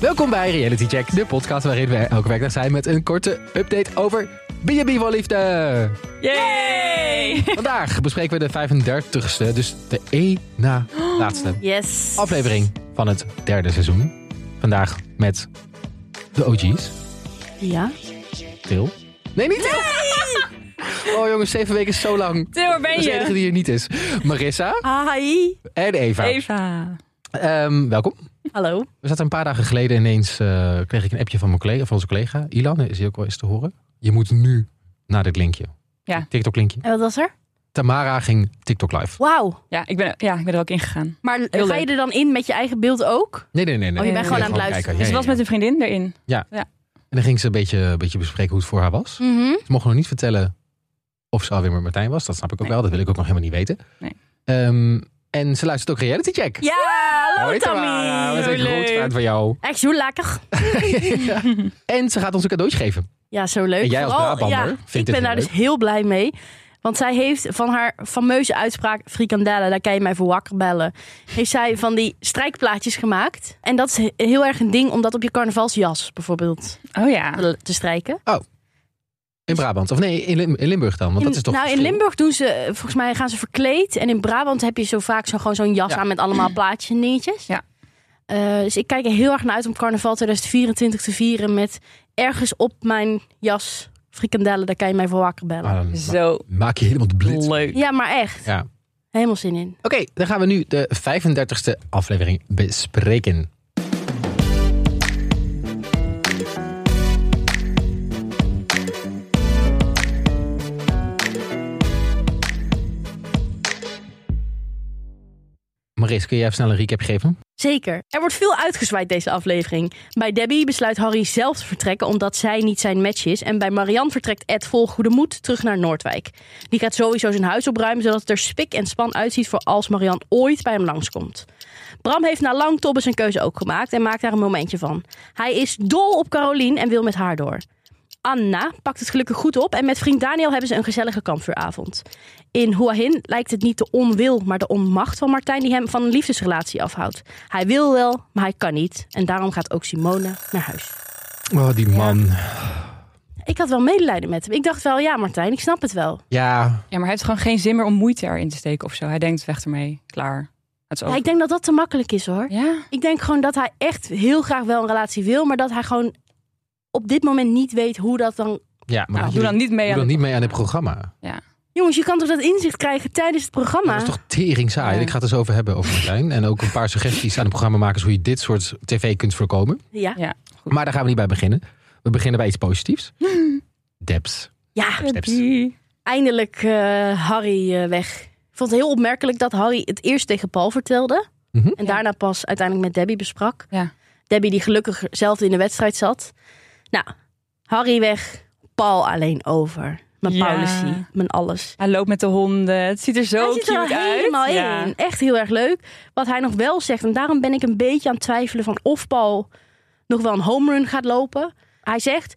Welkom bij Reality Check, de podcast waarin we elke werkdag zijn met een korte update over B&B voor liefde. Yay! Vandaag bespreken we de 35ste, dus de één na laatste Yes. aflevering van het derde seizoen. Vandaag met de OG's. Ja. Til. Nee, niet Til! Oh jongens, zeven weken is zo lang. Til, waar Dat ben is de enige je? die er niet is. Marissa Hi. en Eva. Eva. Ehm, welkom. Hallo. We zaten een paar dagen geleden ineens, eh, kreeg ik een appje van, mijn collega, van onze collega, Ilan, is hij ook wel eens te horen. Je moet nu naar dit linkje. Ja. TikTok linkje. En wat was er? Tamara ging TikTok live. Wauw. Ja, ik ben, ja, ik ben er ook ingegaan. Maar ga je leuk. er dan in met je eigen beeld ook? Nee, nee, nee. nee. Oh, je bent Ik gewoon ging aan het luisteren. kijken. Dus Ja, ze was ja, met ja. een vriendin erin. En dan ging ze een beetje, een beetje bespreken hoe het voor haar was. Mhm. Ze mocht nog niet vertellen of ze alweer met Martijn was. Dat snap ik ook Nee. wel. Dat wil ik ook nog helemaal niet weten. Nee. Ehm, en ze luistert ook Reality Check. Ja, hallo Hoi, Tamara. Tammy. We zijn Hoe groot leuk. fan van jou. Echt zo lekker. En ze gaat ons een cadeautje geven. Ja, zo leuk. En jij als Vooral, Brabander ja, vindt Ik dit ben heel daar dus leuk. heel blij mee. Want zij heeft van haar fameuze uitspraak frikandellen, daar kan je mij voor wakker bellen. Heeft zij van die strijkplaatjes gemaakt. En dat is he- heel erg een ding om dat op je carnavalsjas bijvoorbeeld Oh ja. te strijken. In Brabant. Of nee, in, Lim- in Limburg dan. Want dat In- is toch nou, in verschil. Limburg doen ze, eh, volgens mij gaan ze verkleed. En in Brabant heb je zo vaak zo, gewoon zo'n jas Ja. aan met allemaal plaatjes en dingetjes. Ja. Eh, dus ik kijk er heel erg naar uit om carnaval 2024 te vieren met ergens op mijn jas frikandellen. Daar kan je mij voor wakker bellen. Ah, dan ma- Zo maak je helemaal de blitz. leuk. Ja, maar echt. Ja. Helemaal zin in. Oké, dan gaan we nu de 35e aflevering bespreken. Maris, kun jij even snel een recap geven? Zeker. Er wordt veel uitgezwaaid deze aflevering. Bij Debbie besluit Harry zelf te vertrekken omdat zij niet zijn match is. En bij Marianne vertrekt Ed vol goede moed terug naar Noordwijk. Die gaat sowieso zijn huis opruimen zodat het er spik en span uitziet voor als Marianne ooit bij hem langskomt. Bram heeft na lang tobben zijn keuze ook gemaakt en maakt daar een momentje van. Hij is dol op Carolien en wil met haar door. Anna pakt het gelukkig goed op en met vriend Daniel hebben ze een gezellige kampvuuravond. In Hua Hin lijkt het niet de onwil, maar de onmacht van Martijn die hem van een liefdesrelatie afhoudt. Hij wil wel, maar hij kan niet. En daarom gaat ook Simone naar huis. Oh, die man. Ja, Ik had wel medelijden met hem. Ik dacht wel, ja Martijn, ik snap het wel. Ja, maar hij heeft gewoon geen zin meer om moeite erin te steken of zo. Hij denkt, weg ermee. Klaar. Het is Ja, over. ik denk dat dat te makkelijk is hoor. Ja. Ik denk gewoon dat hij echt heel graag wel een relatie wil, maar dat hij gewoon op dit moment niet weet hoe dat dan... ja maar Nou, Doe dan niet mee doe aan dan het- niet mee aan dit programma. Jongens, je kan toch dat inzicht krijgen tijdens het programma? Dat is toch tering saai. Ja. Ik ga het eens over hebben over Martijn. En ook een paar suggesties aan de programmamakers hoe je dit soort tv kunt voorkomen. Ja. Goed. Maar daar gaan we niet bij beginnen. We beginnen bij iets positiefs. Debs. Ja, Debs. eindelijk eh, Harry eh, weg. Ik vond het heel opmerkelijk dat Harry het eerst tegen Paul vertelde. Mhm. En Ja. daarna pas uiteindelijk met Debbie besprak. Ja. Debbie die gelukkig zelf in de wedstrijd zat. Nou, Harry weg, Paul alleen over. Mijn Ja. Paulusie, mijn alles. Hij loopt met de honden. Het ziet er zo hij zit er cute al uit. helemaal Ja. in. Echt heel erg leuk. Wat hij nog wel zegt, en daarom ben ik een beetje aan het twijfelen van of Paul nog wel een home run gaat lopen. Hij zegt,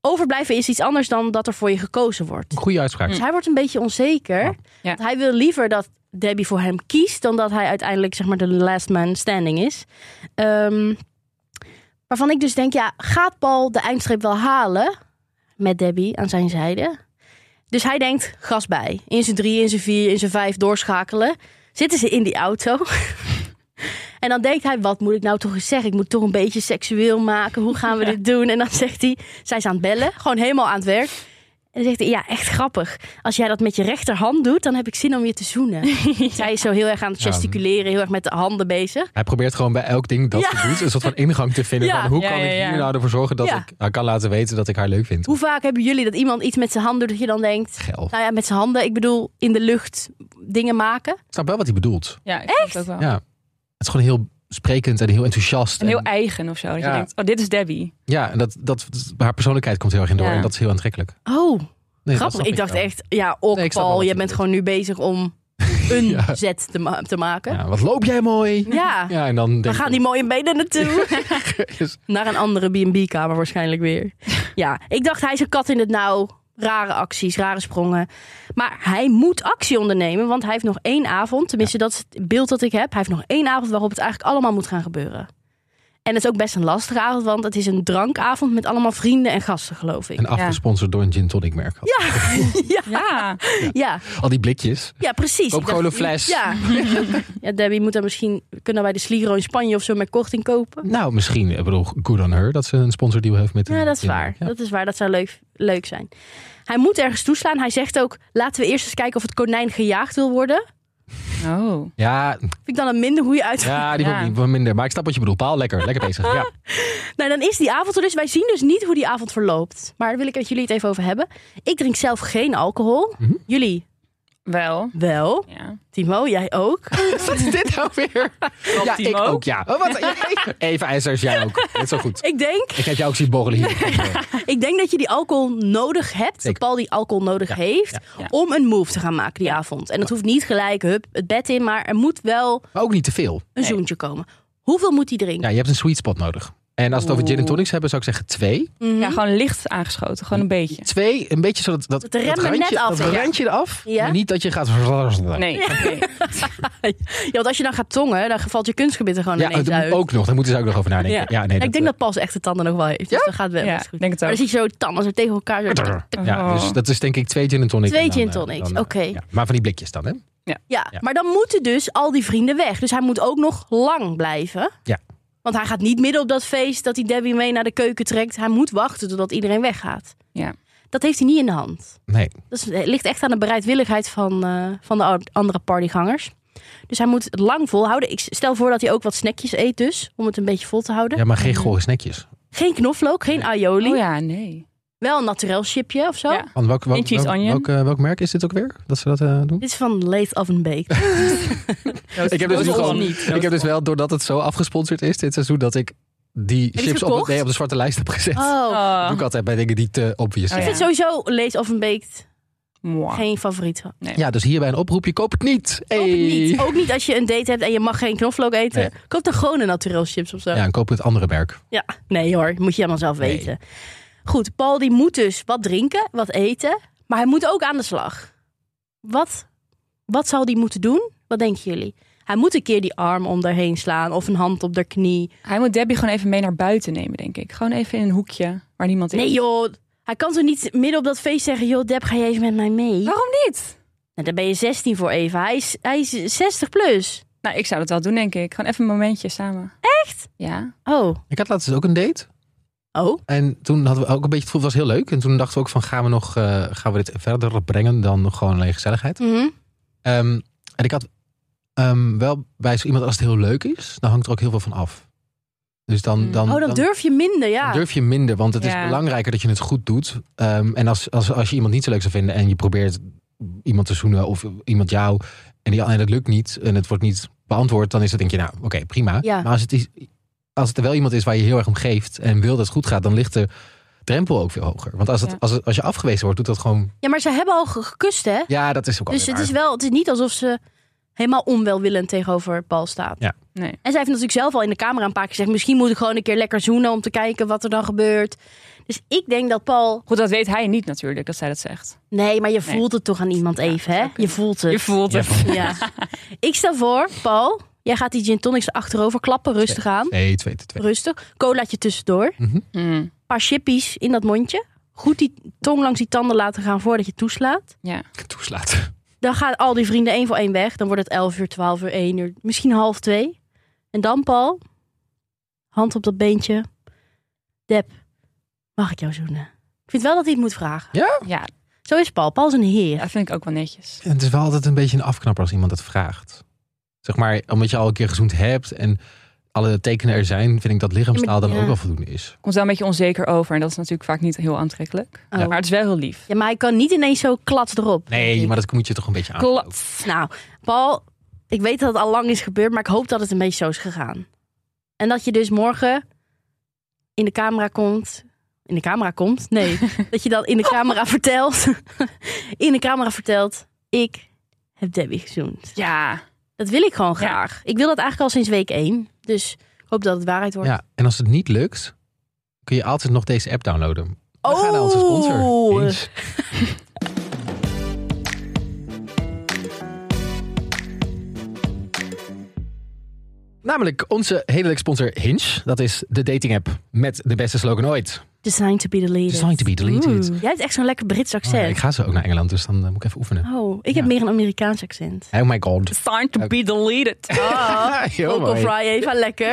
overblijven is iets anders dan dat er voor je gekozen wordt. Een goede uitspraak. Dus hij wordt een beetje onzeker. Hm. Ja. Ja. Want Hij wil liever dat Debbie voor hem kiest dan dat hij uiteindelijk zeg maar de last man standing is. Ehm, waarvan ik dus denk, ja, gaat Paul de eindstreep wel halen met Debbie aan zijn zijde? Dus hij denkt, gas bij. In zijn drie, in zijn vier, in zijn vijf doorschakelen. Zitten ze in die auto. en dan denkt hij, wat moet ik nou toch eens zeggen? Ik moet toch een beetje seksueel maken. Hoe gaan we dit doen? En dan zegt hij, zij is aan het bellen. Gewoon helemaal aan het werk. En dan zegt hij, ja, echt grappig. Als jij dat met je rechterhand doet, dan heb ik zin om je te zoenen. Zij is zo heel erg aan het Ja. gesticuleren, heel erg met de handen bezig. Hij probeert gewoon bij elk ding dat Ja. ze doet een soort van ingang te vinden. Ja. Van, hoe Ja, kan ja, ik ja. hier nou ervoor zorgen dat Ja. ik haar kan laten weten dat ik haar leuk vind? Hoe vaak hebben jullie dat iemand iets met zijn hand doet dat je dan denkt... Geil. Nou ja, met zijn handen, ik bedoel, in de lucht dingen maken. Ik snap wel wat hij bedoelt. Ja, ik vond het ook wel. Ja. Het is gewoon heel sprekend en heel enthousiast. En heel En- eigen of zo. Dat Ja. je denkt, oh, dit is Debbie. ja, en dat, dat, haar persoonlijkheid komt heel erg in door Ja. en dat is heel aantrekkelijk. Nee, Oh, dat grappig. snap Ik dacht wel. echt, ja, ok Nee, ik snap wel Paul, wat je je bent bedoelt. gewoon nu bezig om een Ja. zet te, ma- te maken. Ja. Ja, wat loop jij mooi? Ja, en dan Dan denk gaan ik- die mooie benen naartoe. Yes. Naar een andere B&B-kamer waarschijnlijk weer. Ja, ik dacht hij is een kat in het nauw. Rare acties, rare sprongen. Maar hij moet actie ondernemen, want hij heeft nog één avond. Tenminste, dat is het beeld dat ik heb. Hij heeft nog één avond waarop het eigenlijk allemaal moet gaan gebeuren. En het is ook best een lastige avond, want het is een drankavond met allemaal vrienden en gasten, geloof ik. En afgesponsord door een gin tonic merk. had. Ja, Ja. ja, Al die blikjes. ja precies. Koop Ik dacht- gewoon een fles. Ja. ja, Debbie moet dan misschien... Kunnen wij de Sligro in Spanje of zo met korting kopen? Nou, misschien, ik bedoel, good on her dat ze een sponsordeal heeft met Ja, een dat is gin waar. merk. Ja. Dat is waar. Dat zou leuk, leuk zijn. Hij moet ergens toeslaan. Hij zegt ook, laten we eerst eens kijken of het konijn gejaagd wil worden. Oh. Ja, Vind ik dan een minder goede uit. ja, die Ja. wordt wat minder. Maar ik snap wat je bedoelt. Paal, lekker. Lekker bezig. Ja. Nou, dan is die avond er dus. Wij zien dus niet hoe die avond verloopt. Maar daar wil ik met jullie het even over hebben. Ik drink zelf geen alcohol. Mhm. Jullie Wel. wel. Ja. Timo, jij ook. Wat is dit nou weer? ja, ik Timo. ook, ja. Oh, wat? Ja, Even IJsers, jij ook. Dat is zo goed. Ik denk, Ik heb jou ook zien borrelen hier. ik denk dat je die alcohol nodig hebt. Dat Zeker. Paul die alcohol nodig heeft. ja. Om een move te gaan maken die avond. En dat hoeft niet gelijk, hup, het bed in. Maar er moet wel Maar ook niet te veel. een Nee. zoentje komen. Hoeveel moet hij drinken? Ja, je hebt een sweet spot nodig. En als we het over gin en tonics hebben, zou ik zeggen twee. Mhm. Ja, gewoon licht aangeschoten. Gewoon een beetje. Twee, een beetje zodat dat, Dat de rem er randje, net af dat is. randje eraf. Ja. oh, Maar niet dat je gaat... Nee. nee. Ja, want als je dan gaat tongen, dan valt je kunstgebied er gewoon Ja, ineens dat uit. moet ook nog. Daar moeten ze ook nog over nadenken. Ja. Ja, nee, ik denk dat Pas echt de tanden nog wel heeft. Dus dat gaat wel Ja, best goed. denk het Maar ook. dan zie je zo tanden zo tegen elkaar. Zo. Ja, dus dat is denk ik twee gin en tonic. Oh. Twee en dan, gin eh, tonics, dan, eh, oké. ja. Maar van die blikjes dan, hè? Ja, Ja. maar dan moeten dus al die vrienden weg. Dus hij moet ook nog lang blijven. Ja. Want hij gaat niet midden op dat feest dat hij Debbie mee naar de keuken trekt. Hij moet wachten totdat iedereen weggaat. Ja. Dat heeft hij niet in de hand. Nee. Dat is- het ligt echt aan de bereidwilligheid van, eh, van de ou- andere partygangers. Dus hij moet het lang volhouden. Ik stel voor dat hij ook wat snackjes eet dus, om het een beetje vol te houden. Ja, maar geen gore snackjes. Geen knoflook, geen aioli. Oh ja, nee. Wel een naturel chipje of zo. Ja. Want welk, welk, Geen cheese welk, onion. welk, eh, welk merk is dit ook weer? Dat ze dat eh, doen? Dit is van Late Oven Oh. Bake. Ik heb dus Dat nu is gewoon- ons niet. Ik heb dus wel, doordat het zo afgesponsord is dit seizoen, dat ik die je chips op, gekocht? de- nee, op de zwarte lijst heb gezet. Oh. Dat doe ik altijd bij dingen die te obvious Oh, zijn. Ik vind sowieso Late Oven Baked Mwah. geen favoriet. Koop ja. dus hierbij een oproepje, koop het niet! Hey. het niet. Oh. Ook niet als je een date hebt en je mag geen knoflook eten. Nee. Koop dan gewoon een naturel chips of zo. Ja, en koop het andere merk. Ja, nee hoor, moet je helemaal zelf Nee. weten. Goed, Paul die moet dus wat drinken, wat eten, maar hij moet ook aan de slag. Wat, wat zal die moeten doen? Wat denken jullie? Hij moet een keer die arm om daarheen slaan of een hand op de knie. Hij moet Debbie gewoon even mee naar buiten nemen, denk ik. Gewoon even in een hoekje waar niemand is. Nee joh, hij kan zo niet midden op dat feest zeggen... joh Deb, ga je even met mij mee? Oh. Waarom niet? Nou, daar ben je 16 voor even. Hij is, hij is 60 plus. Nou, ik zou dat wel doen, denk ik. Gewoon even een momentje samen. Echt? Ja. Oh. Ik had laatst dus ook een date. Oh? En toen hadden we ook een beetje het gevoel, het was heel leuk. En toen dachten we ook van, gaan we, nog, eh, gaan we dit verder brengen dan gewoon alleen gezelligheid? Mhm. Ehm, en ik had ehm, wel bij zo iemand, als het heel leuk is, dan hangt er ook heel veel van af. Dus dan, Mm. dan, Oh, dan durf je minder, ja. dan durf je minder, want het Ja. is belangrijker dat je het goed doet. Ehm, en als, als, als je iemand niet zo leuk zou vinden en je probeert iemand te zoenen of iemand jou en, die, en dat lukt niet en het wordt niet beantwoord, dan is het denk je, nou oké, prima. Ja. Maar als het, is, als het er wel iemand is waar je heel erg om geeft en wil dat het goed gaat, dan ligt de drempel ook veel hoger. Want als, het, Ja. als, het, als je afgewezen wordt, doet dat gewoon, Ja, maar ze hebben al ge- gekust, hè? ja, dat is ook Dus alweer het is waar. wel, het is niet alsof ze helemaal onwelwillend tegenover Paul staat. Ja. Nee. En zij heeft natuurlijk zelf al in de camera een paar keer gezegd: misschien moet ik gewoon een keer lekker zoenen om te kijken wat er dan gebeurt. Dus ik denk dat Paul. Goed, dat weet hij niet natuurlijk, dat zij dat zegt. Nee, maar je Nee. voelt het toch aan iemand even, hè? zou Je kunnen. voelt het. voelt Ja, van- Ja. ik stel voor, Paul, jij gaat die gin tonics achterover klappen, rustig aan. Nee, twee, twee, twee. Rustig. Colaatje tussendoor. Een Mhm. Mm, paar chippies in dat mondje. Goed die tong langs die tanden laten gaan voordat je toeslaat. ja. Toeslaat. Dan gaan al die vrienden één voor één weg. Dan wordt het 11 uur, 12 uur, 1 uur, misschien half 2. En dan, Paul, hand op dat beentje. Deb, mag ik jou zoenen? Ik vind wel dat hij het moet vragen. ja, Zo is Paul. Paul is een heer. dat vind ik ook wel netjes. En het is wel altijd een beetje een afknapper als iemand het vraagt. Zeg maar, omdat je al een keer gezoend hebt en alle tekenen er zijn, vind ik dat lichaamstaal dan Ja. ook wel voldoende is. Komt wel een beetje onzeker over en dat is natuurlijk vaak niet heel aantrekkelijk. Oh. Maar het is wel heel lief. Ja, maar hij kan niet ineens zo klats erop. Nee, maar dat moet je toch een beetje aan. Klopt. Nou, Paul, ik weet dat het al lang is gebeurd, maar ik hoop dat het een beetje zo is gegaan. En dat je dus morgen in de camera komt. In de camera komt? Nee. dat je dan in de camera vertelt. in de camera vertelt. Ik heb Debbie gezoend. Ja. Dat wil ik gewoon Ja. graag. Ik wil dat eigenlijk al sinds week één. Dus ik hoop dat het waarheid wordt. Ja, en als het niet lukt, kun je altijd nog deze app downloaden. We gaan naar onze sponsor. Oh. Eens. Namelijk onze hele sponsor Hinge. Dat is de dating app met de beste slogan ooit. Designed to be deleted. Designed to be deleted. Oeh. Jij hebt echt zo'n lekker Brits Oh, ja, ik accent. ga zo ook naar Engeland, dus dan eh, moet ik even oefenen. Oh, ik Ja. heb meer een Amerikaans accent. Oh my god. Sign to be deleted. Ah, heel Vocal mooi. fry even lekker.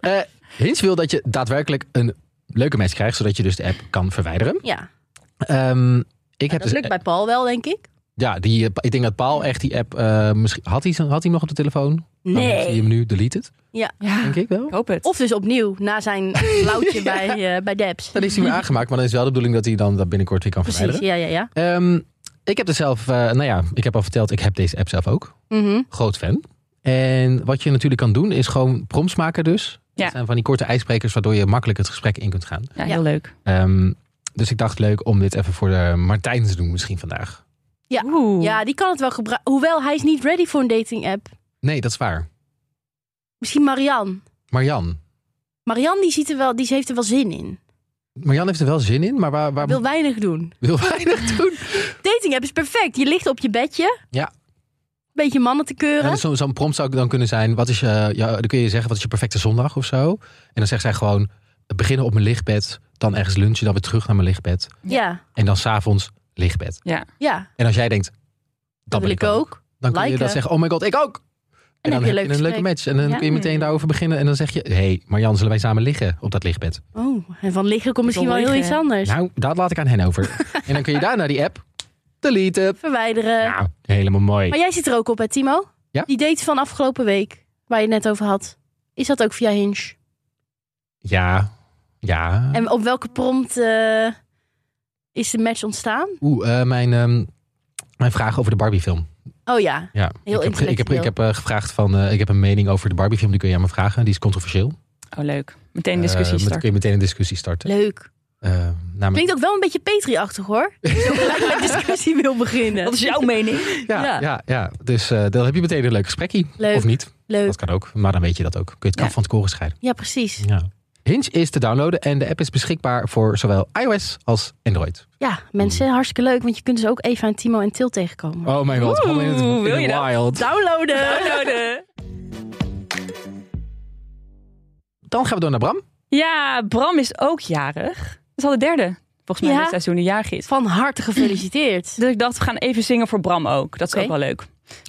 Eh, Hinge wil dat je daadwerkelijk een leuke match krijgt, zodat je dus de app kan verwijderen. Ja, Ehm, ik heb dat dus lukt bij Paul wel, denk ik. Ja, die, eh, ik denk dat Paul echt die app. eh, misschien, had, hij, zijn- had hij hem nog op de telefoon? Dan zie Oh, je Nee. hem nu deleted, Ja, denk ik wel. ik hoop het. Of dus opnieuw, na zijn blauwtje bij, eh, bij Debs. Dan is hij weer aangemaakt, maar dan is wel de bedoeling dat hij dan dat binnenkort weer kan Precies, verwijderen. ja, ja, ja. Ehm, ik heb er zelf, eh, nou ja, ik heb al verteld, ik heb deze app zelf ook. Mhm. Groot fan. En wat je natuurlijk kan doen, is gewoon prompts maken dus. Ja. Dat zijn van die korte ijsbrekers, waardoor je makkelijk het gesprek in kunt gaan. Ja, Ja. heel leuk. Ehm, dus ik dacht leuk om dit even voor de Martijn te doen misschien vandaag. Ja. Oeh. Ja, die kan het wel gebruiken. Hoewel, hij is niet ready voor een dating app. Nee, dat is waar. Misschien Marianne. Marian. Marianne die ziet er wel, die heeft er wel zin in. Marian heeft er wel zin in, maar waar, waar Wil weinig doen. wil weinig doen. Dating app is perfect. Je ligt op je bedje. Ja. Beetje mannen te Ja, keuren. dus zo- Zo'n prompt zou dan kunnen zijn: wat is je, ja, dan kun je zeggen, wat is je perfecte zondag of zo? En dan zegt zij gewoon: beginnen op mijn lichtbed, dan ergens lunchen, dan weer terug naar mijn lichtbed. Ja, En dan s'avonds lichtbed. ja. En als jij denkt, dat, Dat wil ik ook. Dan kun je Liken. dat zeggen: oh my god, ik ook. En, heb dan je heb een leuk je een leuke gesprek. match. En dan Ja. Mm. kun je meteen daarover beginnen. En dan zeg je: hé, hey, Marjan, zullen wij samen liggen op dat lichtbed? Oh, en van liggen komt misschien wil wel heel liggen. iets anders. Nou, dat laat ik aan hen over. en dan kun je daarna die app deleten. Verwijderen. Nou, helemaal mooi. Eh. Maar jij zit er ook op, hè, Timo? Ja. Die date van afgelopen week, waar je het net over had. Is dat ook via Hinge? Ja, ja. En op welke prompt eh, is de match ontstaan? Oeh, eh, mijn, ehm, mijn vraag over de Barbie-film. Oh ja. Ja, ik heb, ik Heel heb, intellectueel. ik heb eh, gevraagd van, eh, ik heb een mening over de Barbie-film, die kun je aan me vragen. Die is controversieel. Oh, leuk. Meteen een discussie Eh, met- starten. kun je meteen een discussie starten. Leuk. Eh, namelijk, Klinkt ook wel een beetje Petri-achtig, hoor. Dat je ook gelijk met discussie wil beginnen. Dat is jouw mening. ja, ja. ja. Ja, dus eh, dan heb je meteen een leuk gesprekje. Leuk. Of niet, Leuk. dat kan ook. Maar dan weet je dat ook. Kun je het kaf Ja. van het koren scheiden. Ja, precies. Ja. Hinge is te downloaden en de app is beschikbaar voor zowel iOS als Android. Ja, Hmm. mensen, hartstikke leuk. Want je kunt dus ook Eva en Timo en Til tegenkomen. Oh mijn god, gewoon in het Oeh, in wil the je dat? wild. Downloaden! Downloaden. Dan gaan we door naar Bram. Ja, Bram is ook jarig. Dat is al de derde, volgens mij, Ja. dit seizoen een jarig is. Van harte gefeliciteerd. Dus ik dacht, we gaan even zingen voor Bram ook. Dat is Oké. ook wel leuk.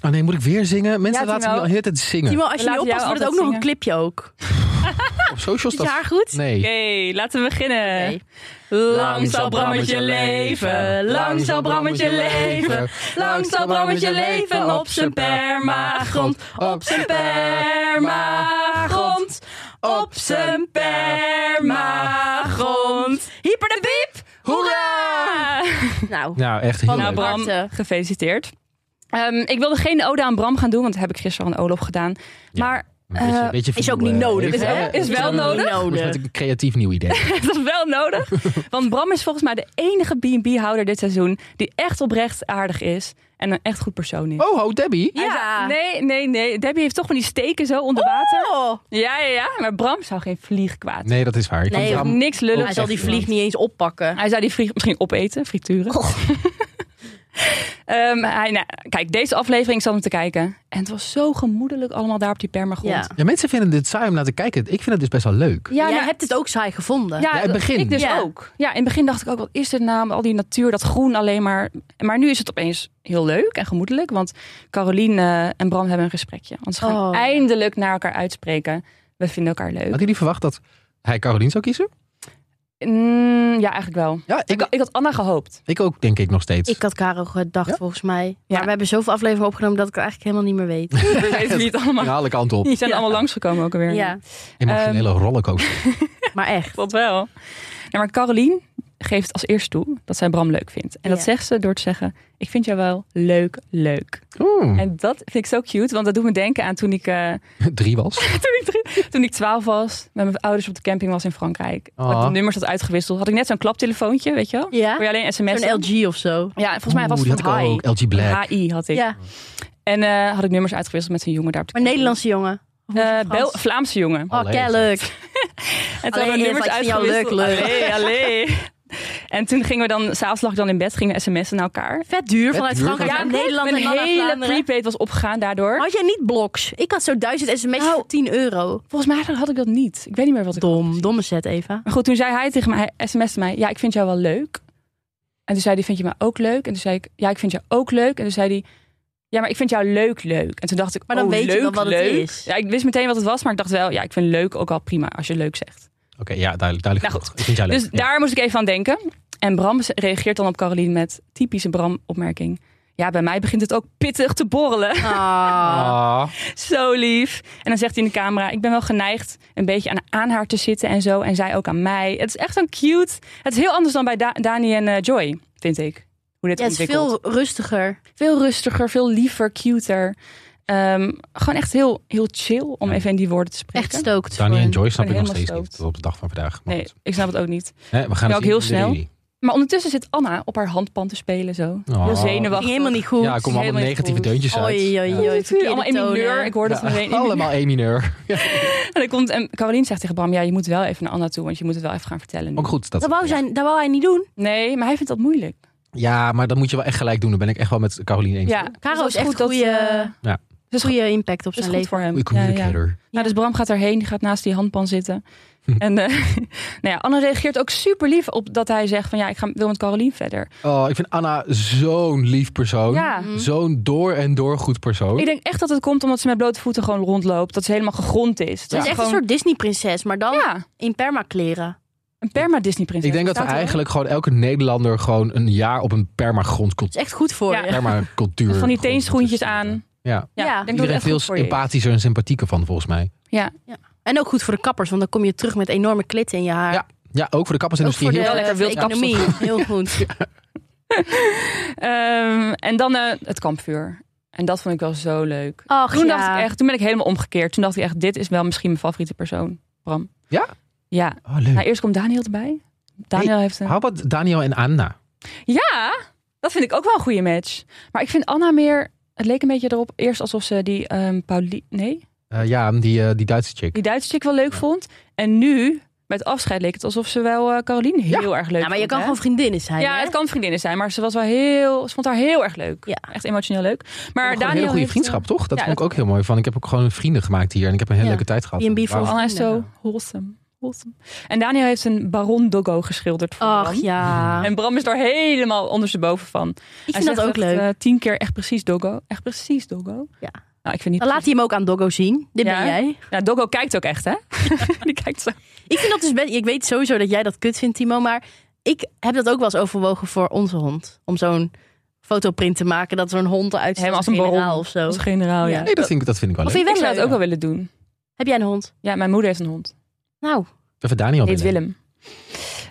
Oh nee, moet ik weer zingen? Mensen Ja, laten me Timo. al de hele tijd zingen. Timo, als We je nu laten oppast, jou wordt het ook altijd nog een clipje ook. Op socials Is je dat... haar goed? Nee. Oké, laten we beginnen. Oké. Lang zal Brammetje leven, lang zal Brammetje leven, lang zal Brammetje leven op zijn permagrond, op zijn permagrond, op zijn permagrond. Hyper de piep! Hoera! Nou, Nou, echt heel Nou leuk. Bram. Bram, gefeliciteerd. Ehm, ik wilde geen ode aan Bram gaan doen, want daar heb ik gisteren al een ode op gedaan. Ja. Maar Een beetje- Eh, een beetje is ook vernieuwen, niet nodig, even, hè? eh, Is wel even, eh, nodig? moet Nodig. Met een creatief nieuw idee. dat is wel nodig. Want Bram is volgens mij de enige B&B-houder dit seizoen die echt oprecht aardig is en een echt goed persoon is. Oh, ho, Debbie. Hij Ja. zei- nee, nee, nee. Debbie heeft toch van die steken zo onder water. Oh. Ja, ja, ja. Maar Bram zou geen vlieg kwaad. Nee, dat is waar. Ik Nee, vond ook Bram- Oh. Niks lullig. Hij zal die echt vlieg iemand. niet eens oppakken. Hij zou die vlieg misschien opeten, frituren. Oh. Ehm, hij, nou, kijk, deze aflevering zat hem te kijken. En het was zo gemoedelijk allemaal daar op die permagrond. Ja. Ja, mensen vinden dit saai om naar te kijken. Ik vind het dus best wel leuk. Ja, Jij nou, hebt het ook saai gevonden. Ja, in het begin. Ik dus Ja. ook. Ja, in het begin dacht ik ook, wat is dit naam? Al die natuur, dat groen alleen maar. Maar nu is het opeens heel leuk en gemoedelijk. Want Caroline eh, en Bram hebben een gesprekje. Want ze gaan Oh. eindelijk naar elkaar uitspreken. We vinden elkaar leuk. Had jullie verwacht dat hij Carolien zou kiezen? Mm, ja, eigenlijk wel. Ja, Ik, ik, ik had Anna gehoopt. ik ook, denk ik nog steeds. Ik had Karo gedacht, Ja? volgens mij. Maar Ja. we hebben zoveel afleveringen opgenomen dat ik het eigenlijk helemaal niet meer weet. We weten niet allemaal. Alle kanten op. Die zijn allemaal langsgekomen ook alweer. ja, Emotionele rollercoaster. maar echt. Dat wel. Nou, maar Caroline, geeft als eerst toe dat zij Bram leuk vindt. En dat Ja. zegt ze door te zeggen: Ik vind jou wel leuk, leuk. Oeh, En dat vind ik zo cute, want dat doet me denken aan toen ik, eh, drie was. toen ik, drie- toen ik 12 was, met mijn ouders op de camping was in Frankrijk. Had ik Ah. de nummers had uitgewisseld. Had ik net zo'n klaptelefoontje, weet je wel? Ja? Waar je alleen sms. Zo'n LG of zo. Ja, en volgens mij was Oeh, het die had ik van ook. LG Black. Hi. HI had ik. Ja, En eh, had ik nummers uitgewisseld met zo'n jongen daar op de maar camping. Nederlandse jongen. Of was het Eh, Bel- Frans? Vlaamse jongen. Oh, Allee. kennelijk. En toen Allee, hadden we nummers Eva, ik vind jou uitgewisseld. leuk, leuk. Allee, allee. En toen gingen we dan, s'avonds lag ik dan in bed, gingen we sms'en naar elkaar. Vet duur vanuit duur Frankrijk vanuit- naar Nederland en Mijn dan naar hele Vlaanderen. prepaid was opgegaan daardoor. Had jij niet bloks? Ik had zo duizend sms'jes Nou, voor 10 euro. Volgens mij had ik dat niet. Ik weet niet meer wat ik had. Dom, domme set, Eva. Maar goed, toen zei hij tegen mij, hij sms'te mij, ja, ik vind jou wel leuk. En toen zei hij, vind je mij ook leuk? En toen zei ik, ja, ik vind jou ook leuk. En toen zei hij, ja, maar ik vind jou leuk, leuk. En toen dacht ik, Maar dan oh, weet je leuk, wel wat het leuk. is. Ja, ik wist meteen wat het was, maar ik dacht wel, ja, ik vind leuk ook wel prima als je leuk zegt. Oké, ja, duidelijk. duidelijk Nou, genoeg. Ik vind jou leuk. Dus Ja. daar moest ik even aan denken. En Bram reageert dan op Caroline met typische Bram-opmerking. Ja, bij mij begint het ook pittig te borrelen. Ah. Ah. zo lief. En dan zegt hij in de camera: Ik ben wel geneigd een beetje aan, aan haar te zitten en zo. En zij ook aan mij. Het is echt een cute. Het is heel anders dan bij Da- Dani en eh, Joy, vind ik. Hoe dit Ja, het is ontwikkelt. veel rustiger. veel rustiger, veel liever, cuter. Ehm, gewoon echt heel, heel chill om even in die woorden te spreken. Echt stookt. Dani voor en hen. Joy snap ben ik nog helemaal steeds stookt. niet. Tot op de dag van vandaag. Maar Nee, goed. ik snap het ook niet. Hè, we gaan ben het ook heel zien in snel. juli. Maar ondertussen zit Anna op haar handpan te spelen zo. Oh. Heel zenuwachtig. Ging helemaal niet goed. Ja, er komen allemaal Helemaal negatieve goed. deuntjes uit. Oei, oei, oei. verkeerde Allemaal in mineur. tonen. Ik hoor dat Ja, meteen. in mineur. allemaal één mineur. En, dan komt, en Caroline zegt tegen Bram, ja, je moet wel even naar Anna toe, want je moet het wel even gaan vertellen. nu. Ook goed. Dat, Dat wou, zijn, dat wou hij niet doen. Nee, maar hij vindt dat moeilijk. Ja, maar dat moet je wel echt gelijk doen. Dan ben ik echt wel met Caroline eens. Ja, Caro dat is echt dat, goeie- eh, Dus goede impact op dat is goed zijn leven. voor hem. Goeie Ja, ja. communicator. Nou, dus Bram gaat erheen, die gaat naast die handpan zitten. en eh, nou ja, Anna reageert ook super lief op dat hij zegt van ja, ik ga, wil met Caroline verder. Oh, ik vind Anna zo'n lief persoon. Ja. Mhm. Zo'n door en door goed persoon. Ik denk echt dat het komt omdat ze met blote voeten gewoon rondloopt, dat ze helemaal gegrond is. Het is echt een soort Disney-prinses, maar dan ja, in permakleren. een perma Disney prinses. Ik denk dat we Staat er eigenlijk gewoon elke Nederlander gewoon een jaar op een permagrond Het is echt goed voor Ja. je. permacultuur. ook. van die grond teenschoentjes is. aan. Ja. Ja, Ja. ik denk dat het Iedereen echt veel goed voor je is. sympathischer en sympathieker van, volgens mij. En ook goed voor de kappers, want dan kom je terug met enorme klitten in je haar. Ja, ja ook voor de Ook kappersindustrie. voor de, heel- Wel lekker de wild economie. Heel goed. Ehm, en dan eh, het kampvuur. En dat vond ik wel zo leuk. Ach, toen, ja. dacht ik echt, toen ben ik helemaal omgekeerd. Toen dacht ik echt, dit is wel misschien mijn favoriete persoon, Bram. Ja? Ja. Oh, leuk. Nou, eerst komt Daniel erbij. Daniel heeft een... How about Daniel en Anna? Ja, dat vind ik ook wel een goede match. Maar ik vind Anna meer... Het leek een beetje erop eerst alsof ze die ehm Pauli- Nee, Eh, ja, die, eh, die Duitse chick. die Duitse chick wel leuk vond. En nu, met afscheid, leek het alsof ze wel eh, Caroline heel erg leuk Ja, maar je vond, kan hè? gewoon vriendinnen zijn. Ja, hè? het kan vriendinnen zijn, maar ze was wel heel... Ze vond haar heel erg leuk. Ja. Echt emotioneel leuk. Gewoon Maar een Daniel hele goede heeft, eh, vriendschap, toch? Dat ja, vond ik ook heel mooi. Van, ik heb ook gewoon vrienden gemaakt hier en ik heb een hele Ja. leuke tijd gehad. B&B Wauw. voor- Oh, Anna is zo Ja. wholesome. wholesome. En Daniel heeft een Baron Doggo geschilderd voor Ach Bram. ja. En Bram is daar helemaal ondersteboven van. Ik vind dat ook leuk. tien keer echt precies Doggo. Echt precies Doggo. Ja. Nou, ik vind niet... Dan laat hij hem ook aan Doggo zien. Dit Ja? ben jij. precies- Nou, Doggo kijkt ook echt, hè? Die kijkt zo. Ik vind dat dus best. Ik weet sowieso dat jij dat kut vindt, Timo. Maar ik heb dat ook wel eens overwogen voor onze hond. Om zo'n fotoprint te maken dat zo'n hond eruit ziet Helemaal als als een een generaal baron. of zo. Als generaal, ja. Ja. Nee, dat vind ik, dat vind ik wel Of leuk. vind je Ik zou wel leuk? het ook wel willen doen. Heb jij een hond? Ja, mijn moeder heeft een hond. Nou, Even Daniel Die heet binnen.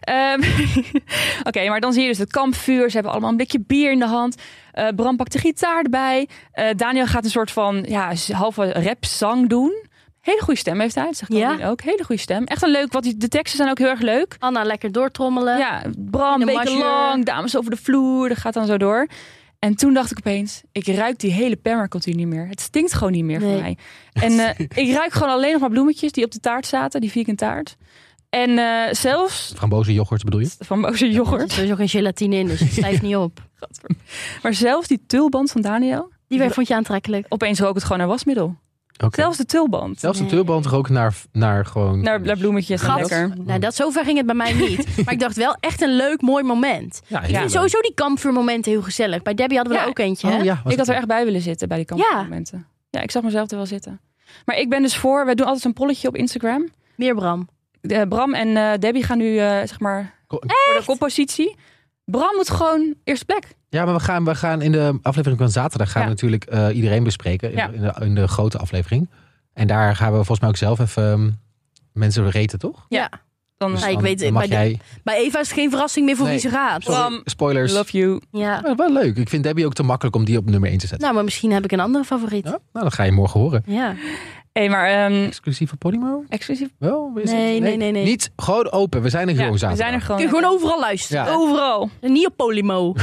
Willem. Ehm, Oké, maar dan zie je dus het kampvuur. Ze hebben allemaal een blikje bier in de hand. Eh, Bram pakt de gitaar erbij. Eh, Daniel gaat een soort van ja, z- halve rapzang doen. Hele goede stem heeft hij. Dat zegt Ja. Caroline ook. Hele goede stem. Echt een leuk. Wat die, de teksten zijn ook heel erg leuk. Anna lekker doortrommelen. Ja, Bram, In de weken majeur. lang, dames over de vloer, dat gaat dan zo door. En toen dacht ik opeens, ik ruik die hele permacultuur niet meer. Het stinkt gewoon niet meer Nee. voor mij. En eh, ik ruik gewoon alleen nog maar bloemetjes die op de taart zaten, die vegan taart. En eh, zelfs Frambozen yoghurt bedoel je? van boze Er zit yoghurt. sowieso geen gelatine in, dus het stijgt niet op. Maar zelfs die tulband van Daniel, Die weer vond je aantrekkelijk. opeens rook het gewoon naar wasmiddel. Oké. Zelfs de tulband. Zelfs de Nee. tulband rook naar, naar gewoon... Naar, naar bloemetjes. en Gat. Lekker. Nou, dat, zover ging het bij mij niet. Maar ik dacht wel echt een leuk, mooi moment. Ja, Ja. heel leuk. Sowieso die kampvuurmomenten heel gezellig. Bij Debbie hadden we Ja. er ook eentje. hè? Oh, ja, was Ik had er het- echt bij willen zitten bij die kampmomenten. Ja. ja, ik zag mezelf er wel zitten. Maar ik ben dus voor, wij doen altijd een polletje op Instagram. Meer Bram. De- Bram en eh, Debbie gaan nu, eh, zeg maar, Ko- voor de koppositie. Bram moet gewoon eerste plek. Ja, maar we gaan, we gaan in de aflevering van zaterdag gaan Ja. we natuurlijk eh, iedereen bespreken. In, Ja. de, in, de, in de grote aflevering. En daar gaan we volgens mij ook zelf even ehm, mensen reten, toch? Ja. Dan Dus Ja, ik dan weet- mag bij de- jij... Bij Eva is het geen verrassing meer voor Nee. wie ze raadt. Sorry, Bram, spoilers. love you. Ja. Maar wel leuk. Ik vind Debbie ook te makkelijk om die op nummer 1 te zetten. Nou, maar misschien heb ik een andere favoriet. Ja? Oh, Nou, dat ga je morgen horen. Ja. Hé, maar ehm, Exclusief op Podimo? exclusief. Wel? Is Nee, het- nee, nee, nee. Niet gewoon open. We zijn er Ja, gewoon we zaterdag. zijn er Kun je gewoon. gewoon overal luisteren. Ja. Overal. Niet op Polymo.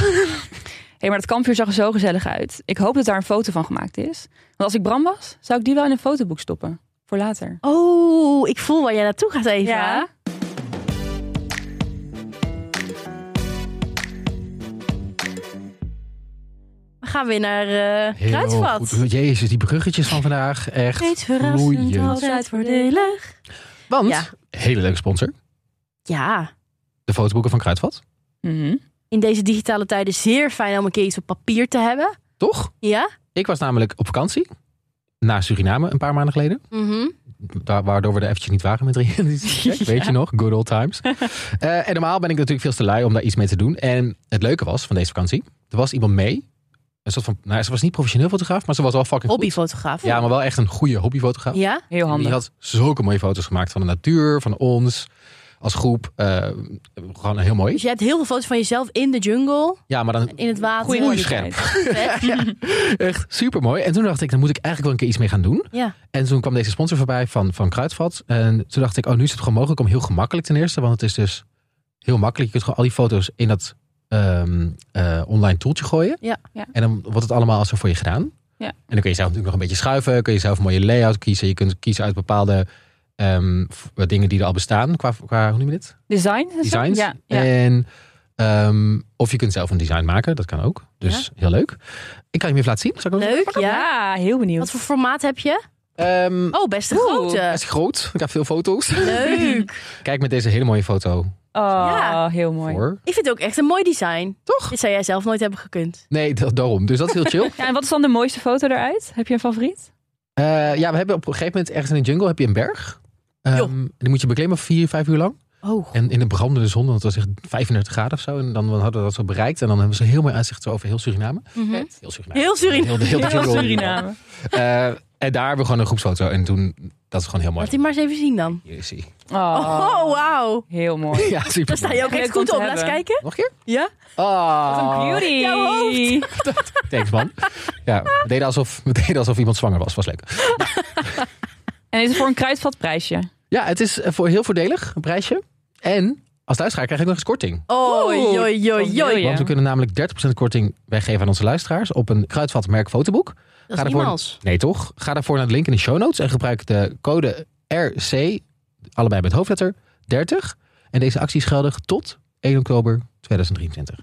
Hé, maar dat kampvuur zag er zo gezellig uit. Ik hoop dat daar een foto van gemaakt is. Want als ik Bram was, zou ik die wel in een fotoboek stoppen. Voor later. Oh, ik voel waar jij naartoe gaat, Eva. We gaan weer naar eh Heel Kruidvat. goed. Jezus, die bruggetjes van vandaag. Echt Steeds verrassend, vloeiend. altijd voordelig. Want, Ja. hele leuke sponsor. Ja, De fotoboeken van Kruidvat. Mhm. in deze digitale tijden zeer fijn om een keer iets op papier te hebben. Toch? Ja? Ik was namelijk op vakantie. Naar Suriname een paar maanden geleden. Mhm. Da- waardoor we er eventjes niet waren met reality check. Ja. Weet je nog? Good old times. Eh, en normaal ben ik natuurlijk veel te lui om daar iets mee te doen. En het leuke was van deze vakantie. Er was iemand mee. Een soort van, nou, ze was niet professioneel fotograaf, maar ze was wel fucking goed. Hobbyfotograaf. Ja, maar wel echt een goede hobbyfotograaf. Ja? Heel En handig. Die had zulke mooie foto's gemaakt van de natuur, van ons, als groep. Eh, gewoon heel mooi. Dus je hebt heel veel foto's van jezelf in de jungle, Ja, maar dan in het water. Goeie Mooi kwaliteit. Vet. echt super mooi. En toen dacht ik, dan moet ik eigenlijk wel een keer iets mee gaan doen. Ja. En toen kwam deze sponsor voorbij van, van Kruidvat. En toen dacht ik, oh, nu is het gewoon mogelijk om heel gemakkelijk ten eerste. Want het is dus heel makkelijk. Je kunt gewoon al die foto's in dat ehm, eh, online toeltje gooien. Ja. Ja. En dan wordt het allemaal zo voor je gedaan. Ja. En dan kun je zelf natuurlijk nog een beetje schuiven. Kun je zelf een mooie layout kiezen. Je kunt kiezen uit bepaalde ehm, f- dingen die er al bestaan. Qua, qua hoe noem je dit? Design? is dat? designs. Eh, Ja. ja. En, ehm, of je kunt zelf een design maken, dat kan ook. Dus heel leuk. Ik kan je hem even laten zien. Zal ik hem- Leuk, ja. Ja, heel Wat benieuwd. voor formaat heb je? Ehm, Oh, best een Oeh. hij grote. is groot. Ik heb veel foto's. Leuk. Kijk met deze hele mooie foto Oh, Ja. heel mooi. voor. Ik vind het ook echt een mooi design. Toch? Dit zou jij zelf nooit hebben gekund. Nee, dat, daarom. Dus dat is heel chill. Ja, en wat is dan de mooiste foto eruit? Heb je een favoriet? Eh, ja, we hebben op een gegeven moment ergens in de jungle heb je een berg. Ehm, Joh. en die moet je beklimmen vier, vijf uur lang. Oh, En in de brandende zon, want het was echt 35 graden of zo. En dan hadden we dat zo bereikt. En dan hebben ze een heel mooi uitzicht zo over heel Suriname. Mhm. Heel Suriname. heel Suriname. Heel de- heel de Heel jungle. Suriname. Eh, en daar hebben we gewoon een groepsfoto. En toen, dat is gewoon heel mooi. Laat die maar eens even zien dan. Hier is hij. Oh, Oh, wauw. Heel mooi. Ja, super. Daar sta je ook Leuk echt om goed te op. Laat eens hebben. kijken. Nog een keer? Ja? Oh, Wat een beauty. Jouw hoofd. Thanks, man. Ja, we deden, alsof, we deden alsof iemand zwanger was. Was leuk. En is het voor een kruidvatprijsje? Ja, het is eh, voor heel voordelig, een prijsje. En als luisteraar krijg ik nog eens korting. Oh, Oeh, joi, joi, wat joi. wil je? Want we kunnen namelijk 30% korting weggeven aan onze luisteraars op een kruidvatmerk fotoboek. Dat Ga is ervoor. iemals. Nee, toch? Ga daarvoor naar de link in de show notes en gebruik de code RC, allebei met hoofdletter, 30. En deze actie is geldig tot 1 oktober 2023.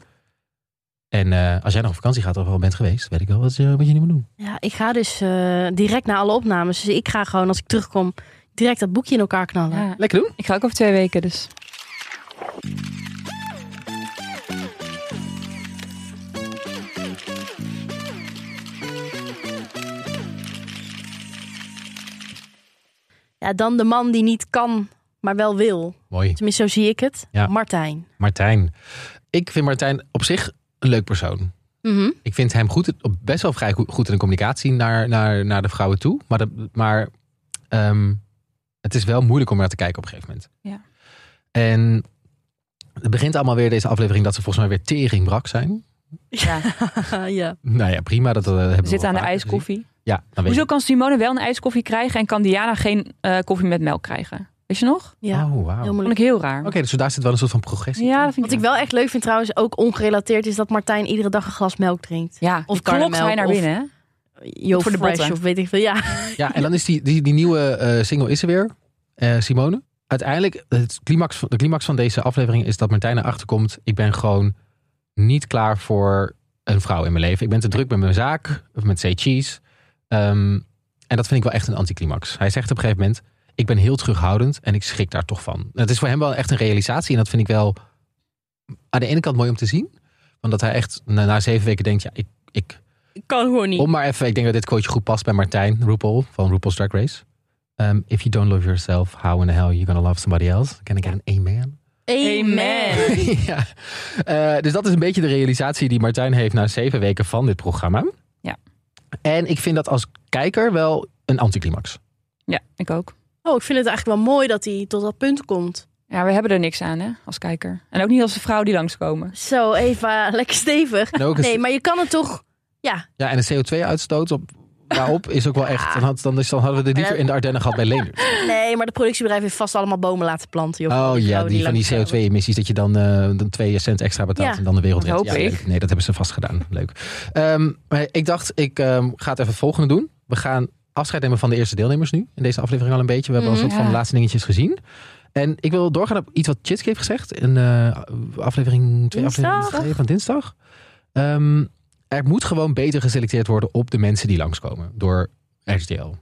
En eh, als jij nog op vakantie gaat of al bent geweest, weet ik wel wat je, wat je nu moet doen. Ja, ik ga dus eh, direct na alle opnames. Dus ik ga gewoon, als ik terugkom, direct dat boekje in elkaar knallen. Ja. Lekker doen. Ik ga ook over twee weken, dus. Ja, dan de man die niet kan, maar wel wil. Mooi. Tenminste, zo zie ik het. Ja. Martijn. Martijn. Ik vind Martijn op zich een leuk persoon. Mhm. Ik vind hem goed, best wel vrij goed goed in de communicatie naar, naar, naar de vrouwen toe. Maar, dat, maar ehm, het is wel moeilijk om naar te kijken op een gegeven moment. Ja. En het begint allemaal weer deze aflevering dat ze volgens mij weer teringbrak zijn. Ja. ja. Nou ja, prima. Dat, eh, hebben We zitten wel aan de vaker ijskoffie. gezien. Ja, dan weet Hoezo kan Simone wel een ijskoffie krijgen en kan Diana geen eh, koffie met melk krijgen? Weet je nog? je. ja. Oh, wauw. Heel Oké, Vond moeilijk. ik heel raar. dus daar zit wel een soort van progressie. Ja, dat vind Wat ik wel echt leuk vind trouwens, ook ongerelateerd, is dat Martijn iedere dag een glas melk drinkt. Ja, Of of klokt karnemelk, hij naar of- binnen, hè? Yo, Voor de fresh botten. of weet ik veel. Ja. Ja, en dan is die, die, die nieuwe eh, single is er weer, eh, Simone. Uiteindelijk, het climax, van- de climax van deze aflevering is dat Martijn erachter komt... ik ben gewoon niet klaar voor een vrouw in mijn leven. Ik ben te druk met mijn zaak, of met Say Cheese. Ehm, en dat vind ik wel echt een anticlimax. Hij zegt op een gegeven moment, ik ben heel terughoudend... en ik schrik daar toch van. Het is voor hem wel echt een realisatie en dat vind ik wel... aan de ene kant mooi om te zien. Omdat hij echt na, na zeven weken denkt, ja, ik... ik Kan gewoon niet. om maar even, ik denk dat dit quoteje goed past bij Martijn RuPaul van RuPaul's Drag Race. Ehm, if you don't love yourself, how in the hell you gonna love somebody else? Can I get an amen? Amen. Amen. ja. Eh, dus dat is een beetje de realisatie die Martijn heeft na zeven weken van dit programma. Ja. En ik vind dat als kijker wel een anticlimax. Ja, ik ook. Oh, ik vind het eigenlijk wel mooi dat hij tot dat punt komt. Ja, we hebben er niks aan, hè, als kijker. En ook niet als de vrouwen die langskomen. Zo, Eva, lekker stevig. En ook het- Nee, maar je kan het toch... Ja, en de CO2-uitstoot op, daarop is ook wel echt. Dan, had, dan, is, dan hadden we dit liever in de Ardennen gehad bij Leendert. Nee, maar de productiebedrijf heeft vast allemaal bomen laten planten. Joh, Oh ja, vrouwen die van die langs- CO2-emissies. Dat je dan, eh dan 2 cent extra betaalt Ja, en dan de wereld dat redt. hoop ja, ik. leuk. Nee, dat hebben ze vast gedaan. Leuk. Ehm, maar ik dacht, ik ehm, ga het even het volgende doen. We gaan afscheid nemen van de eerste deelnemers nu. In deze aflevering al een beetje. We hebben al een Mhm. soort van Ja. de laatste dingetjes gezien. En ik wil doorgaan op iets wat Chitske heeft gezegd. In eh, aflevering 2 Dinsdag. aflevering 2 van dinsdag. Ehm, er moet gewoon beter geselecteerd worden op de mensen die langskomen. Door RTL.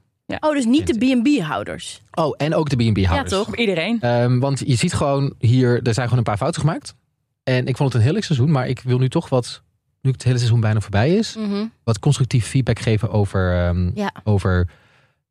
Oh, dus niet de B&B-houders. Oh, en ook de B&B-houders. Ja, toch? Voor iedereen. Ehm, want je ziet gewoon hier, er zijn gewoon een paar fouten gemaakt. En ik vond het een heerlijk seizoen, maar ik wil nu toch wat, nu het hele seizoen bijna voorbij is, wat constructief feedback geven over, ehm, Ja. over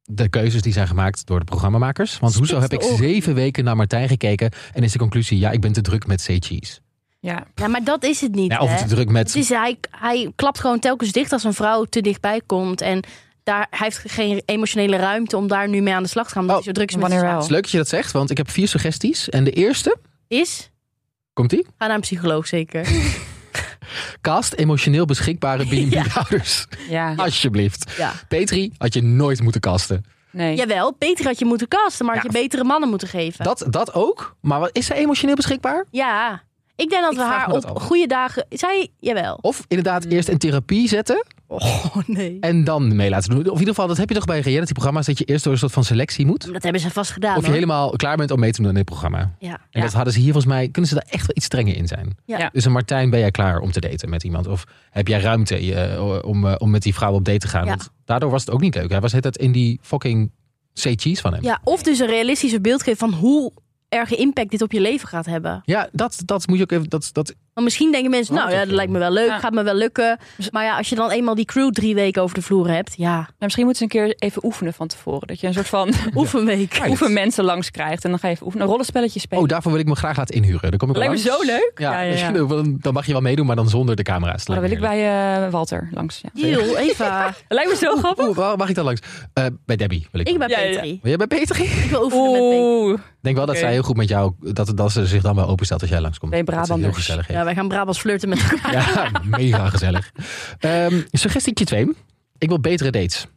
de keuzes die zijn gemaakt door de programmamakers. Want hoezo Spits heb ik de oren. zeven weken naar Martijn gekeken en is de conclusie, ja, ik ben te druk met C-cheese. Ja. Ja, maar dat is het niet, Ja, of hè? te druk Het met... is, hij, hij klapt gewoon telkens dicht als een vrouw te dichtbij komt. En daar, hij heeft geen emotionele ruimte om daar nu mee aan de slag te gaan. Omdat Oh, hij zo druk is met Wanneer zijn wel? Het is leuk dat je dat zegt, want ik heb vier suggesties. En de eerste, zaak. Is, komt die? ga naar een psycholoog zeker. Cast emotioneel beschikbare B&B-houders. Ja. Ah. Alsjeblieft. ja. Petri had je nooit moeten casten. Nee. Jawel, beter had je moeten kasten, maar had Ja. je betere mannen moeten geven. Dat, dat ook. Maar wat, is zij emotioneel beschikbaar? Ja, ik denk dat Ik we vraag haar me dat op af. goede dagen... Zij, jawel. Of inderdaad Hmm. eerst in therapie zetten Oh, nee. en dan mee laten doen. Of in ieder geval, dat heb je toch bij reality-programma's, dat je eerst door een soort van selectie moet. Dat hebben ze vast gedaan, of je hoor. helemaal klaar bent om mee te doen in dit programma. En Ja. Ja. dat hadden ze hier volgens mij, kunnen ze daar echt wel iets strenger in zijn. Ja. Ja. Dus een Martijn, ben jij klaar om te daten met iemand? Of heb jij ruimte eh, om, eh, om met die vrouw op date te gaan? Ja. Want daardoor was het ook niet leuk. Hij was het in die fucking C-cheese van hem. ja, of dus een realistische beeld geven van hoe erge impact dit op je leven gaat hebben. Ja, dat, dat moet je ook even. Dat, dat, Want misschien denken mensen, Oh, nou dat ja, is dat wel- lijkt me wel leuk, Ja. gaat me wel lukken. Dus- Maar ja, als je dan eenmaal die crew drie weken over de vloer hebt, ja, Maar Nou, misschien moeten ze een keer even oefenen van tevoren. Dat je een soort van oefenweek. Ja. oefen mensen langs krijgt. En dan ga je even oefenen. Een rollenspelletje spelen. oh, daarvoor wil ik me graag laten inhuren. Dan kom ik Lijkt me langs. zo leuk. Ja, ja, ja. dan mag je wel meedoen, maar dan zonder de camera's. Maar dan wil ik bij eh, Walter langs. Ja. Deal, Eva. Dat lijkt me zo grappig. Oeh, waar mag ik dan langs? Eh, bij Debbie wil ik. Ik ben Ja, ja, ja. Petri. Wil jij bij Petri? Ik Ik wil oefenen met Petri. denk wel dat Oké. zij heel goed met jou, dat, dat ze zich dan wel openstelt als jij langskomt. Twee Dat ze het heel Brabanders. gezellig dus. Ja, heeft. wij gaan Brabants flirten met elkaar. Ja, mega gezellig. Ehm suggestietje 2. Ik wil betere dates,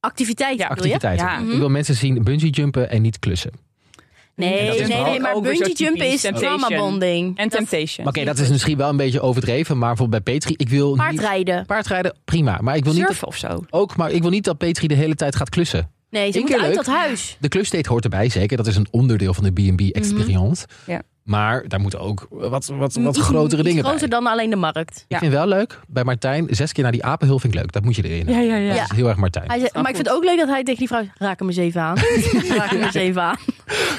Activiteit, Ja, bedoel je? activiteiten. Ja. Ik wil mensen zien bungee jumpen en niet klussen. Maar Nee, Dat is nee, nee, vooral maar ook weer zo bungee jumpen typisch is Temptation. trauma bonding. En Dat- Temptation. Oké, dat is misschien wel een beetje overdreven, maar bijvoorbeeld bij Petri, ik wil niet... Paardrijden. Paardrijden, prima. Maar ik wil niet, dat, Surfen of zo. ook, maar ik wil niet dat Petri de hele tijd gaat klussen. Nee, ze Eén moeten keer uit leuk. dat huis. De klusdate hoort erbij, zeker. Dat is een onderdeel van de Mhm. B&B-experience. Ja. Maar daar moeten ook wat, wat, wat Iets- grotere iets dingen bij. groter dan alleen de markt. Ja. Ik vind wel leuk, bij Martijn, zes keer naar die apenhul vind ik leuk. Dat moet je erin. Ja, ja, ja. Dat Ja. is heel erg Martijn. Hij zei, wel maar ik goed. vind het ook leuk dat hij tegen die vrouw zegt, raak hem eens even aan. raak hem eens even aan.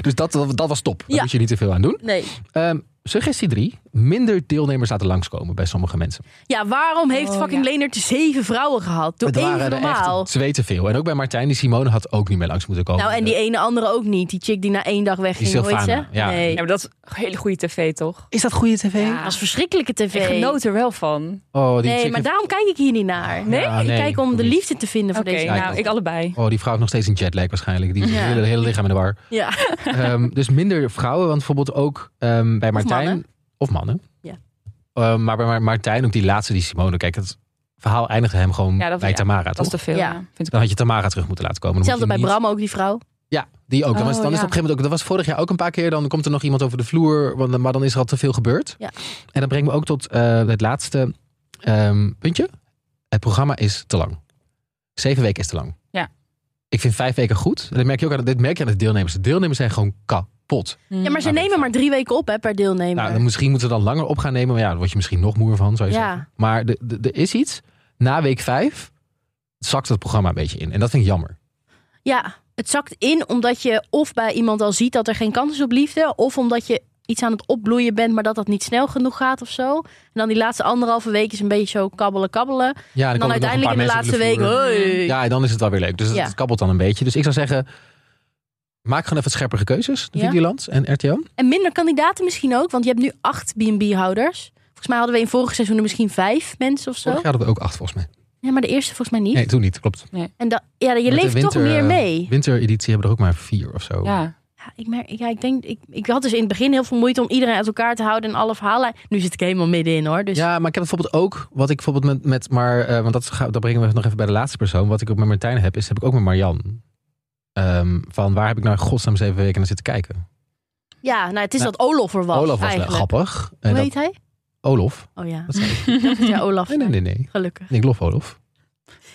Dus dat, dat, dat was top. Daar Ja. moet je niet te veel aan doen. Nee. Ehm, suggestie 3. Minder deelnemers laten langskomen bij sommige mensen. Ja, waarom heeft Oh, fucking ja. Leonard zeven vrouwen gehad? Doe Er even waren er normaal. echt twee te veel. En ook bij Martijn, die Simone had ook niet meer langs moeten komen. Nou, en die ene andere ook niet. Die chick die na één dag wegging, Oh, Die hoe heet Sylvana, ze? ja. Ja, Nee. maar dat is een hele goede tv, toch? Is dat goede tv? Ja. Dat is verschrikkelijke tv. Ik genoot er wel van. Oh, die Nee, chick maar heeft- daarom kijk ik hier niet naar. Nee? Ja, ik kijk om de niet. liefde te vinden Oké, voor deze Ja, nou, ik ik allebei. Oh, die vrouw heeft nog steeds een jetlag waarschijnlijk. Die is Ja. hele, hele lichaam in de war. Ja. Ehm, dus minder vrouwen, want bijvoorbeeld ook ehm, bij Martijn. mannen. Of mannen. Ja. Ehm, maar bij Ma- Martijn, ook die laatste, die Simone. Kijk, het verhaal eindigde hem gewoon Ja, dat- bij ja, Tamara, Dat is toch? te veel. Ja. Ja. Vind ik Dan had je Tamara terug moeten laten komen. Dan Hetzelfde bij moet je Mm. Bram ook, die vrouw. niet- Ja, die ook. Dan, was, Oh, dan is het ja. op een gegeven moment ook... Dat was vorig jaar ook een paar keer. Dan komt er nog iemand over de vloer. want- Maar dan is er al te veel gebeurd. Ja. En dat brengt me ook tot eh, het laatste ehm, puntje. Het programma is te lang. Zeven weken is te lang. Ja. Ik vind vijf weken goed. En Dat merk je ook aan, dit merk je aan de deelnemers. De deelnemers zijn gewoon kapot. Ja, Hmm. maar ze Nou, nemen maar drie weken op hè, per deelnemer. Nou, dan misschien moeten we dan langer op gaan nemen. Maar ja, daar word je misschien nog moer van, zou je Ja. zeggen. Maar er de, de, er is iets. Na week vijf zakt het programma een beetje in. En dat vind ik jammer. Ja, het zakt in omdat je of bij iemand al ziet dat er geen kans is op liefde, of omdat je iets aan het opbloeien bent, maar dat dat niet snel genoeg gaat of zo. En dan die laatste anderhalve week is een beetje zo kabbelen, kabbelen. Ja, komen er En dan nog een uiteindelijk paar in de mensen laatste over week, vloer. hoi. Ja, en dan is het wel weer leuk. Dus het- Ja. het kabbelt dan een beetje. Dus ik zou zeggen, maak gewoon even wat scherpere keuzes. De Ja. Videoland en RTL. En minder kandidaten misschien ook, want je hebt nu acht B&B-houders. Volgens mij hadden we in vorige seizoenen misschien vijf mensen of zo. Vorig jaar hadden we ook acht volgens mij. Ja, maar de eerste volgens mij niet. Nee, toen niet. Klopt. En dat, ja, Met je de leeft toch winter, meer eh, mee. Wintereditie hebben er ook maar vier of zo. Ja. Ja, Ja, ik, merk, ja, ik, denk, ik, ik had dus in het begin heel veel moeite om iedereen uit elkaar te houden en alle verhalen. Nu zit ik helemaal middenin hoor. Dus Ja, maar ik heb bijvoorbeeld ook, wat ik bijvoorbeeld met, met maar, eh, want dat, ga- dat brengen we nog even bij de laatste persoon. Wat ik ook met Martijn heb, is heb ik ook met Marjan. Ehm, van waar heb ik nou in godsnaam zeven weken naar zitten kijken? ja, nou, het is Nou, dat Olaf er was. Olaf was wel eigenlijk. grappig. En Hoe dat- heet hij? Olof. Oh ja, Dat zei ik. dat is ja, Olaf. Nee, nee, nee, nee. Gelukkig. Ik lof Olof.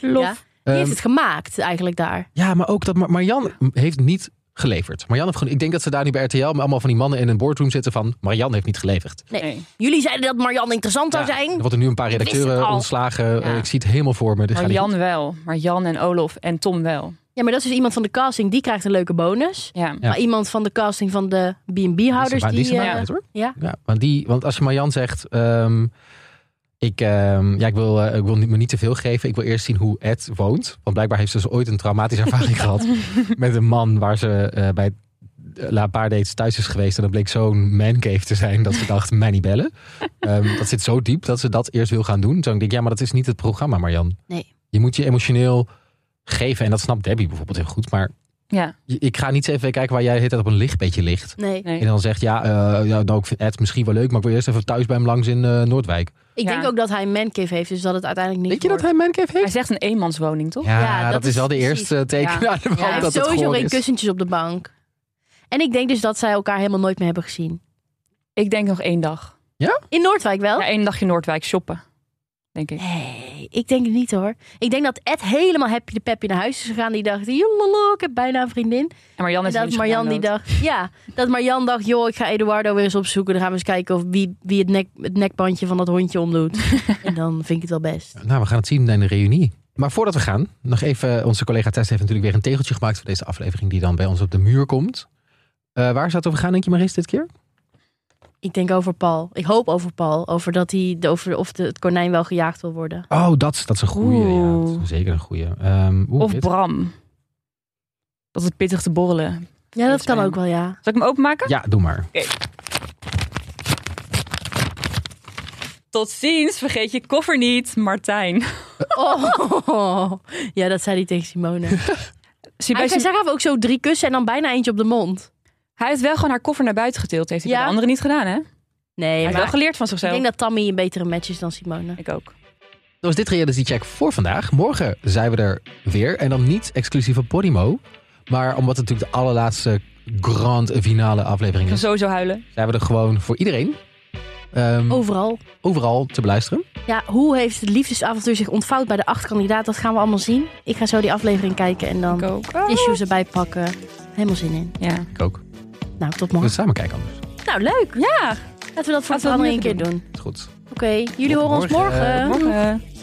Lof. Ja. Wie Ehm, heeft het gemaakt eigenlijk daar? ja, maar ook dat Mar- Marjan heeft niet geleverd. Marjan heeft gewoon, ik denk dat ze daar nu bij RTL met allemaal van die mannen in een boardroom zitten van Marjan heeft niet geleverd. Nee. Jullie zeiden dat Marianne interessant zou Ja, zijn. Er worden nu een paar wist het redacteuren al. ontslagen. Eh, Ja. ik zie het helemaal voor me. Dit ga Maar ik- Jan wel. Maar Jan en Olof en Tom wel. Ja, maar dat is dus iemand van de casting, die krijgt een leuke bonus. Ja. Ja. Maar iemand van de casting van de B&B-houders, Die die... is er maar- die is er maar eh, uit, hoor. ja. Ja, want, die, want als je Marjan zegt... ehm, ik, ehm, ja, ik wil, eh, ik wil niet- me niet te veel geven. Ik wil eerst zien hoe Ed woont. Want blijkbaar heeft ze dus ooit een traumatische ervaring gehad... met een man waar ze eh, bij eh, na een paar dates thuis is geweest. En dat bleek zo'n mancave te zijn dat ze dacht, mij niet bellen. Ehm, dat zit zo diep dat ze dat eerst wil gaan doen. Toen ik denk ja, maar dat is niet het programma, Marjan. Nee. Je moet je emotioneel geven. En dat snapt Debbie bijvoorbeeld heel goed. Maar ja. je- ik ga niet even kijken waar jij de hele tijd op een lichtbeetje ligt. Nee. Nee. En dan zegt, ja, eh, ja nou, ik vind Ed misschien wel leuk, maar ik wil eerst even thuis bij hem langs in eh, Noordwijk. Ik Ja. denk ook dat hij een mancave heeft, dus dat het uiteindelijk niet Weet je dat wordt. hij een mancave Hij heeft? zegt een eenmanswoning, toch? Ja, Ja, dat, dat is wel de is eerste eh, teken Ja. aan de wand Ja, Hij dat heeft het sowieso gewoon geen is. kussentjes op de bank. En ik denk dus dat zij elkaar helemaal nooit meer hebben gezien. Ik denk nog één dag. In Noordwijk wel? Ja, één dagje Noordwijk shoppen. Denk ik. Nee, ik denk het niet hoor. Ik denk dat Ed helemaal happy de peppy naar huis is gegaan. Die dacht, joh, ik heb bijna een vriendin. En Marjan En is dat dus Marjan die gedownload. dacht, ja, dat Marjan dacht, joh, ik ga Eduardo weer eens opzoeken. Dan gaan we eens kijken of wie, wie het, nek, het nekbandje van dat hondje omdoet. en dan vind ik het wel best. Nou, we gaan het zien in de reunie. Maar voordat we gaan, nog even, onze collega Tess heeft natuurlijk weer een tegeltje gemaakt voor deze aflevering die dan bij ons op de muur komt. Eh, waar zou het over gaan, denk je Maris, dit keer? Ik denk over Paul. Ik hoop over Paul. Over dat hij, over of de, het konijn wel gejaagd wil worden. Oh, dat, dat is een goeie. Ja, Oeh. dat is zeker een goeie. Ehm, oeh, Of dit- Bram. Dat is pittig te borrelen. Ja, dat Iets kan bij ook wel, ja. Zal ik hem openmaken? Ja, doe maar. Tot ziens, vergeet je koffer niet, Martijn. Oh. Ja, dat zei hij tegen Simone. Zie bij Hij, Sim- zij gaf ook zo drie kussen en dan bijna eentje op de mond. Hij heeft wel gewoon haar koffer naar buiten getild. Heeft hij Ja. bij de anderen niet gedaan, hè? Hij Nee, heeft wel Mm. geleerd van ik zichzelf. denk dat Tammy een betere match is dan Simone. Ik ook. Dat was dit Reality Check voor vandaag. Morgen zijn we er weer. En dan niet exclusief op Podimo. Maar omdat het natuurlijk de allerlaatste grand finale Ik aflevering ga is... sowieso huilen. zijn we er gewoon voor iedereen. ehm, Overal. Overal te beluisteren. Ja, hoe heeft het liefdesavontuur zich ontvouwd bij de acht kandidaten? Dat gaan we allemaal zien. Ik ga zo die aflevering kijken en Ik dan ook. issues erbij pakken. Helemaal zin in. Ja. Ik ook. We Nou, tot moeten morgen. samen kijken anders. Nou, leuk. Ja. Laten we dat voor Dus- Laten we dat de andere nu een keer even doen. Is goed. Oké, jullie Tot horen ons morgen. morgen. Morgen.